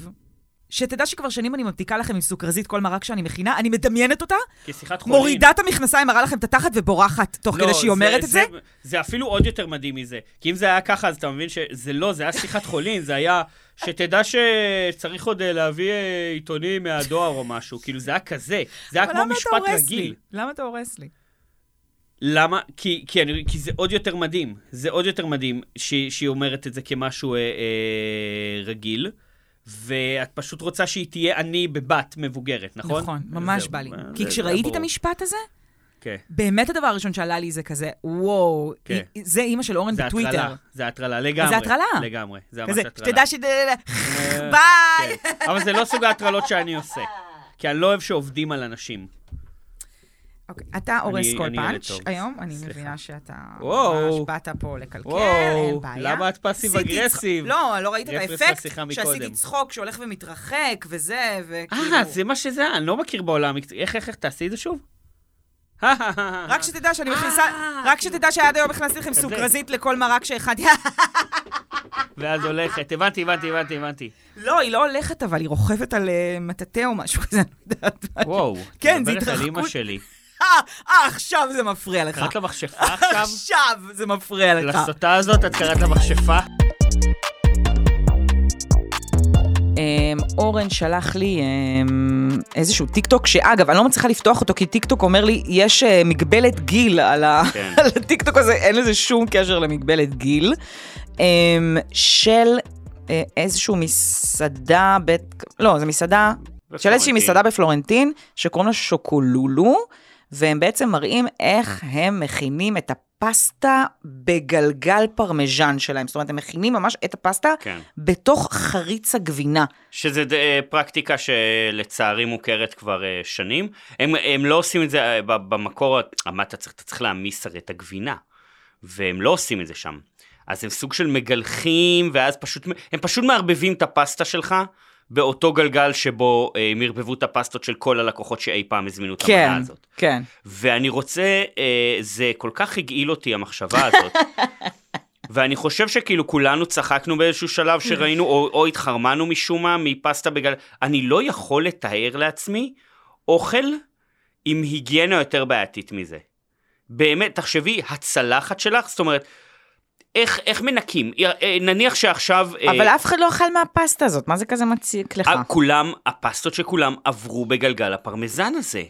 שתדע שכבר שנים אני מבדיקה לכם עם סוכרזית כל מרק שאני מכינה, אני מדמיינת אותה, כשיחת חולין. מורידה את המכנסיים, מראה לכם את התחת ובורחת תוך לא, כדי שהיא אומרת את זה. זה אפילו עוד יותר מדהים מזה. כי אם זה היה ככה, אז אתה מבין שזה לא, זה היה שיחת חולין, זה היה... שתדע שצריך עוד אה, להביא אה, עיתונים מהדואר או משהו. כאילו, זה היה כזה. זה היה אבל כמו למה אתה משפט הורס רגיל. לי? למה אתה הורס לי? למה? כי, כי, אני, כי זה עוד יותר מדהים. זה עוד יותר מדהים שהיא שהיא אומרת את זה כמשהו אה, אה, רגיל, ואת פשוט רוצה שהיא תהיה אני בבת מבוגרת, נכון? נכון, ממש זהו, בא לי. אה, זה- כי זה כשראיתי את ברור. המשפט הזה, כן. באמת הדבר הראשון שעלה לי זה כזה, וואו, כן. היא- זה אימא של אורן זה בטוויטר. הטרלה, זה הטרלה לגמרי. זה הטרלה. לגמרי, זה ממש כזה, הטרלה. שתדע ש... אה, ביי! כן. אבל זה לא סוג ההטרלות שאני עושה. כי אני לא אוהב שעובדים על אנשים. אוקיי, אתה הורס אני- כל אני ילד פאנץ' טוב. היום, אני סליחה. מבינה שאתה וואו. ממש באת פה לקלקל, וואו, אין בעיה. למה את פאסיב עשיתי צחוק- אגרסיב? לא, לא ראית את רפרנס לשיחה האפקט מקודם. שעשיתי צחוק שהולך ומתרחק וזה, וכאילו... אה, זה מה שזה היה, אני לא מכיר בעולם המקצועי. איך, איך, איך, תעשי את זה שוב? רק שתדע אה, שאני מכניסה, רק כאילו- שתדע שעד היום הכנסתי לכם סוכרזית לכל מרק שהכנתי. ואז הולכת. הבנתי, הבנתי, הבנתי, הבנתי. לא, היא לא הולכת, אבל היא רוכבת על אה, מטאטא או משהו כזה, אני לא יודעת. מה. וואו. כן, זה את מדברת על אימא התרחקות. שלי. אה, אה, עכשיו זה מפריע לך. קראת לה מכשפה עכשיו? עכשיו זה מפריע אה. לך. לסוטה הזאת את קראת לה מכשפה? אמ, אורן שלח לי אמ, איזשהו טיק טוק, שאגב, אני לא מצליחה לפתוח אותו, כי טיק טוק אומר לי, יש אה, מגבלת גיל על ה- כן. על הטיק טוק הזה, אין לזה שום קשר למגבלת גיל, אמ, של אה, איזשהו מסעדה, בית, לא, זה מסעדה, של איזושהי בפלורנטין. מסעדה בפלורנטין, שקוראים לה שוקולולו, והם בעצם מראים איך אה. הם מכינים את הפסטה בגלגל פרמיז'ן שלהם. זאת אומרת, הם מכינים ממש את הפסטה כן. בתוך חריץ הגבינה. שזה ד- אה, פרקטיקה שלצערי מוכרת כבר אה, שנים. הם, הם לא עושים את זה אה, ב- במקור, מה אתה צריך, אתה צריך להעמיס הרי את הגבינה, והם לא עושים את זה שם. אז הם סוג של מגלחים, ואז פשוט, הם פשוט מערבבים את הפסטה שלך. באותו גלגל שבו אה, הם ערבבו את הפסטות של כל הלקוחות שאי פעם הזמינו את כן, המנה הזאת. כן. ואני רוצה, אה, זה כל כך הגעיל אותי המחשבה הזאת. ואני חושב שכאילו כולנו צחקנו באיזשהו שלב שראינו, או, או התחרמנו משום מה מפסטה בגלל... אני לא יכול לתאר לעצמי אוכל עם היגיינה יותר בעייתית מזה. באמת, תחשבי, הצלחת שלך, זאת אומרת, איך, איך מנקים? אה, אה, נניח שעכשיו... אה, אבל אף אחד לא אכל מהפסטה הזאת, מה זה כזה מציק לך? אה, כולם, הפסטות של כולם עברו בגלגל הפרמזן הזה.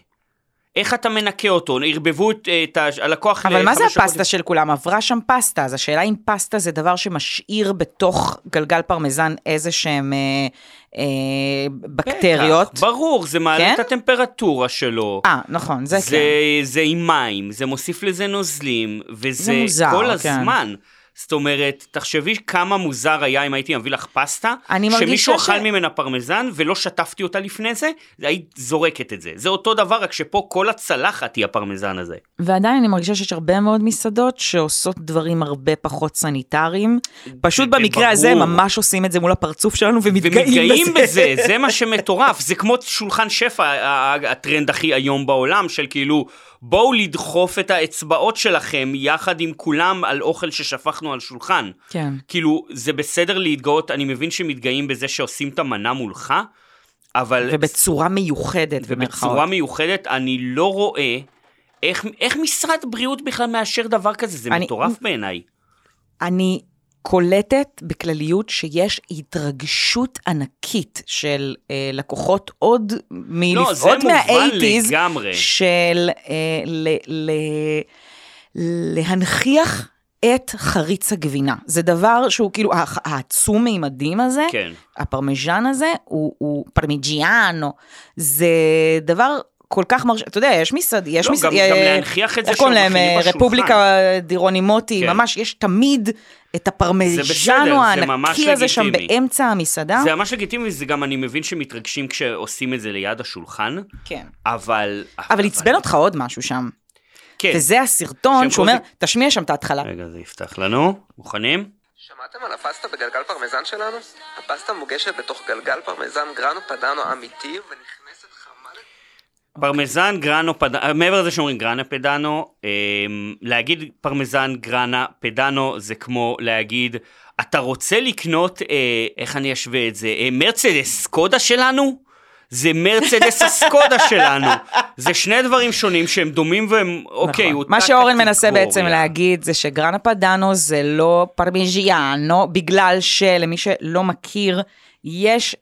איך אתה מנקה אותו? ערבבו את, אה, את ה- הלקוח... אבל מה זה לחמש הפסטה דקות. של כולם? עברה שם פסטה, אז השאלה אם פסטה זה דבר שמשאיר בתוך גלגל פרמזן איזה שהם אה, אה, בקטריות. בטח, ברור, זה מעלה כן? את הטמפרטורה שלו. אה, נכון, זה זה, כן. זה עם מים, זה מוסיף לזה נוזלים, וזה זה מוזר, כל כן. הזמן. זאת אומרת, תחשבי כמה מוזר היה אם הייתי מביא לך פסטה, אני מרגישה שמישהו ש- אכל ממנה פרמזן ולא שטפתי אותה לפני זה, היית זורקת את זה. זה אותו דבר, רק שפה כל הצלחת היא הפרמזן הזה. ועדיין אני מרגישה שיש הרבה מאוד מסעדות שעושות דברים הרבה פחות סניטריים. פשוט זה במקרה הזה ברור. ממש עושים את זה מול הפרצוף שלנו ומתגאים ומתגאים בזה, זה מה שמטורף, זה כמו שולחן שפע, ה- ה- הטרנד הכי איום בעולם, של כאילו, בואו לדחוף את האצבעות שלכם יחד עם כולם על אוכל ששפכנו על שולחן. כן. כאילו, זה בסדר להתגאות, אני מבין שמתגאים בזה שעושים את המנה מולך, אבל... ובצורה מיוחדת, במרכאות. ובצורה מיוחדת, אני לא רואה איך, איך משרד בריאות בכלל מאשר דבר כזה, זה אני- מטורף בעיניי. אני קולטת בכלליות שיש התרגשות ענקית של אה, לקוחות עוד מ... לא, זה עוד מובן מה-80's, לגמרי. של אה, ל, ל, להנכיח את חריץ הגבינה. זה דבר שהוא כאילו, הח- העצום מימדים הזה, כן. הפרמיז'ן הזה, הוא, הוא פרמיג'יאנו, זה דבר... כל כך מרש... אתה יודע, יש מסעד... יש לא, מסעד... אה, גם- גם להנכיח את זה איך קוראים שהם להם? מכינים אה, בשולחן. רפובליקה דירונימוטי, כן. ממש, יש תמיד את זה בסדר, הפרמיז'נו זה ממש הענקי הזה שם לגיטימי. באמצע המסעדה. זה ממש לגיטימי, זה גם אני מבין שמתרגשים כשעושים את זה ליד השולחן, כן. אבל... אבל עצבן אותך עוד משהו שם. כן. וזה הסרטון שהם שאומר, כל תשמיע שם את ההתחלה. רגע, זה יפתח לנו. מוכנים? אוקיי. שמעתם על הפסטה בגלגל פרמזן שלנו? הפסטה מוגשת בתוך גלגל פרמזן גרנו פדאנו אמיתי ונכנסת חמה פרמזן, גרנו, פדאנו, מעבר לזה שאומרים גרנה פדאנו, אמ, להגיד פרמזן, גרנה, פדאנו, זה כמו להגיד, אתה רוצה לקנות, אה, איך אני אשווה את זה, אה, מרצדס סקודה שלנו? זה מרצדס הסקודה שלנו. זה שני דברים שונים שהם דומים והם, אוקיי, נכון. אותה מה שאורן מנסה קטגוריה. בעצם להגיד זה שגרנה פדאנו זה לא פרמיג'יאנו, בגלל שלמי שלא מכיר, יש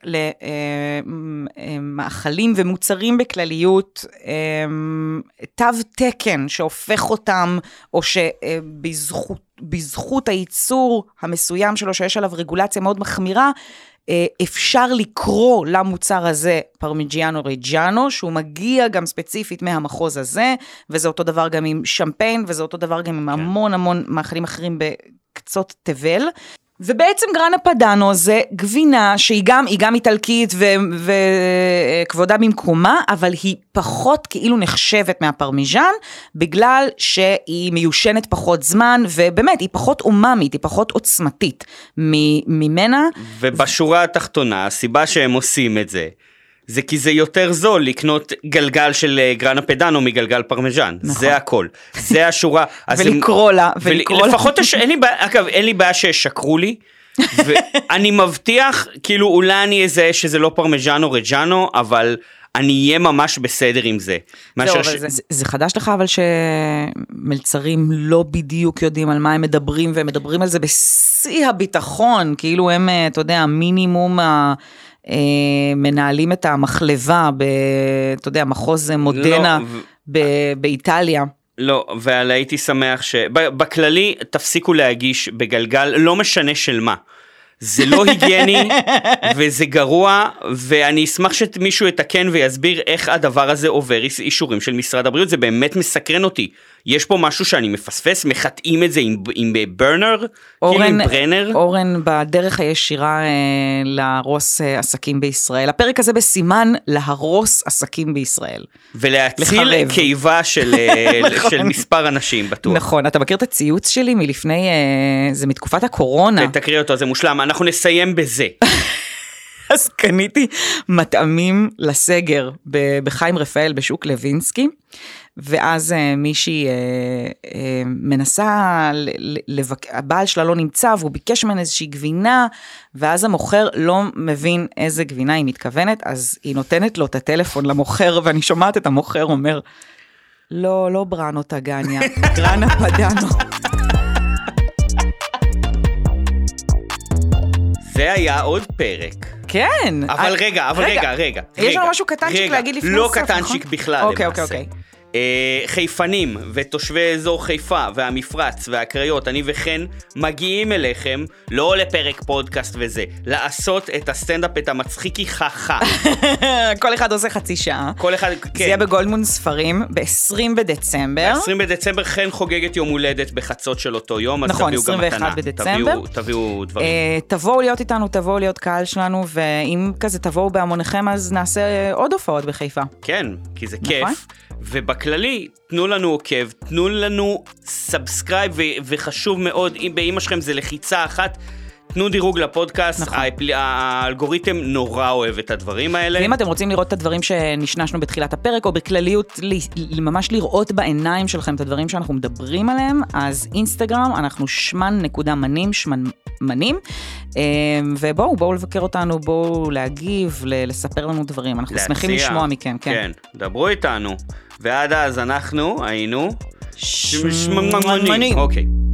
למאכלים ומוצרים בכלליות אמ, תו תקן שהופך אותם, או שבזכות בזכות הייצור המסוים שלו, שיש עליו רגולציה מאוד מחמירה, אה, אפשר לקרוא למוצר הזה פרמיג'יאנו רג'אנו, שהוא מגיע גם ספציפית מהמחוז הזה, וזה אותו דבר גם עם שמפיין, וזה אותו דבר גם עם המון המון מאכלים אחרים בקצות תבל. ובעצם גרנה פדאנו זה גבינה שהיא גם, היא גם איטלקית וכבודה במקומה, אבל היא פחות כאילו נחשבת מהפרמיז'ן, בגלל שהיא מיושנת פחות זמן, ובאמת, היא פחות אוממית, היא פחות עוצמתית מ- ממנה. ובשורה התחתונה, הסיבה שהם עושים את זה, זה כי זה יותר זול לקנות גלגל של אה, גרנה פדאנו מגלגל פרמיז'ן. נכון. זה הכל. זה השורה. אז הם- ולקרוא לה, ולקרוא לה. לפחות, תש... אין לי בעיה, אגב, אין לי בעיה שישקרו לי. ואני מבטיח, כאילו אולי אני אזהה שזה לא פרמיז'ן או רג'אנו, אבל אני אהיה ממש בסדר עם זה. מאשר ש- זה, זה חדש לך אבל שמלצרים לא בדיוק יודעים על מה הם מדברים, והם מדברים על זה בשיא הביטחון, כאילו הם, אה, אתה יודע, מינימום ה... אה, מנהלים את המחלבה, ב, אתה יודע, מחוז מודנה לא, ו- ב, באיטליה. לא, אבל הייתי שמח ש... ב- בכללי, תפסיקו להגיש בגלגל, לא משנה של מה. זה לא היגייני, וזה גרוע, ואני אשמח שמישהו יתקן ויסביר איך הדבר הזה עובר איס- אישורים של משרד הבריאות, זה באמת מסקרן אותי. יש פה משהו שאני מפספס, מחטאים את זה עם, עם ברנר? כאילו עם ברנר? אורן בדרך הישירה אה, להרוס אה, עסקים בישראל. הפרק הזה בסימן להרוס עסקים בישראל. ולהציל לחרב. קיבה של, אה, נכון. של מספר אנשים, בטוח. נכון, אתה מכיר את הציוץ שלי מלפני, אה, זה מתקופת הקורונה. תקריא אותו, זה מושלם, אנחנו נסיים בזה. אז קניתי מטעמים לסגר ב- בחיים רפאל בשוק לוינסקי, ואז אה, מישהי אה, אה, מנסה, ל- ל- לבק- הבעל שלה לא נמצא והוא ביקש ממנה איזושהי גבינה, ואז המוכר לא מבין איזה גבינה היא מתכוונת, אז היא נותנת לו את הטלפון למוכר, ואני שומעת את המוכר אומר, לא, לא בראנו טגניה, גרנה פדנו. זה היה עוד פרק. כן. אבל אה, רגע, אבל רגע, רגע. יש לנו רגע, משהו קטנצ'יק רגע. להגיד לפני לא הסוף, קטנצ'יק נכון? בכלל, אוקיי, למעשה. אוקיי, אוקיי. אה, חיפנים ותושבי אזור חיפה והמפרץ והקריות, אני וחן, מגיעים אליכם, לא לפרק פודקאסט וזה, לעשות את הסטנדאפ, את המצחיקי חכה. כל אחד עושה חצי שעה. כל אחד, זה יהיה כן. בגולדמון ספרים ב-20 בדצמבר. 20 בדצמבר חן חוגגת יום הולדת בחצות של אותו יום, אז נכון, תביאו גם 21 מתנה. בדצמבר. תביאו- תביאו דברים. אה, תבואו להיות איתנו, תבואו להיות קהל שלנו, ואם כזה תבואו בהמוניכם, אז נעשה אה, עוד הופעות בחיפה. כן, כי זה נכון. כיף. ובכללי, תנו לנו עוקב, תנו לנו סאבסקרייב, ו- וחשוב מאוד, אם באימא שלכם זה לחיצה אחת, תנו דירוג לפודקאסט, נכון. האפל... האלגוריתם נורא אוהב את הדברים האלה. ואם אתם רוצים לראות את הדברים שנשנשנו בתחילת הפרק, או בכלליות, ל- ממש לראות בעיניים שלכם את הדברים שאנחנו מדברים עליהם, אז אינסטגרם, אנחנו שמן נקודה מנים, שמנמנים, אה, ובואו, בואו לבקר אותנו, בואו להגיב, ל- לספר לנו דברים, אנחנו להציע. שמחים לשמוע מכם, כן. כן, דברו איתנו. ועד אז אנחנו היינו... ש- שמנמנים. אוקיי.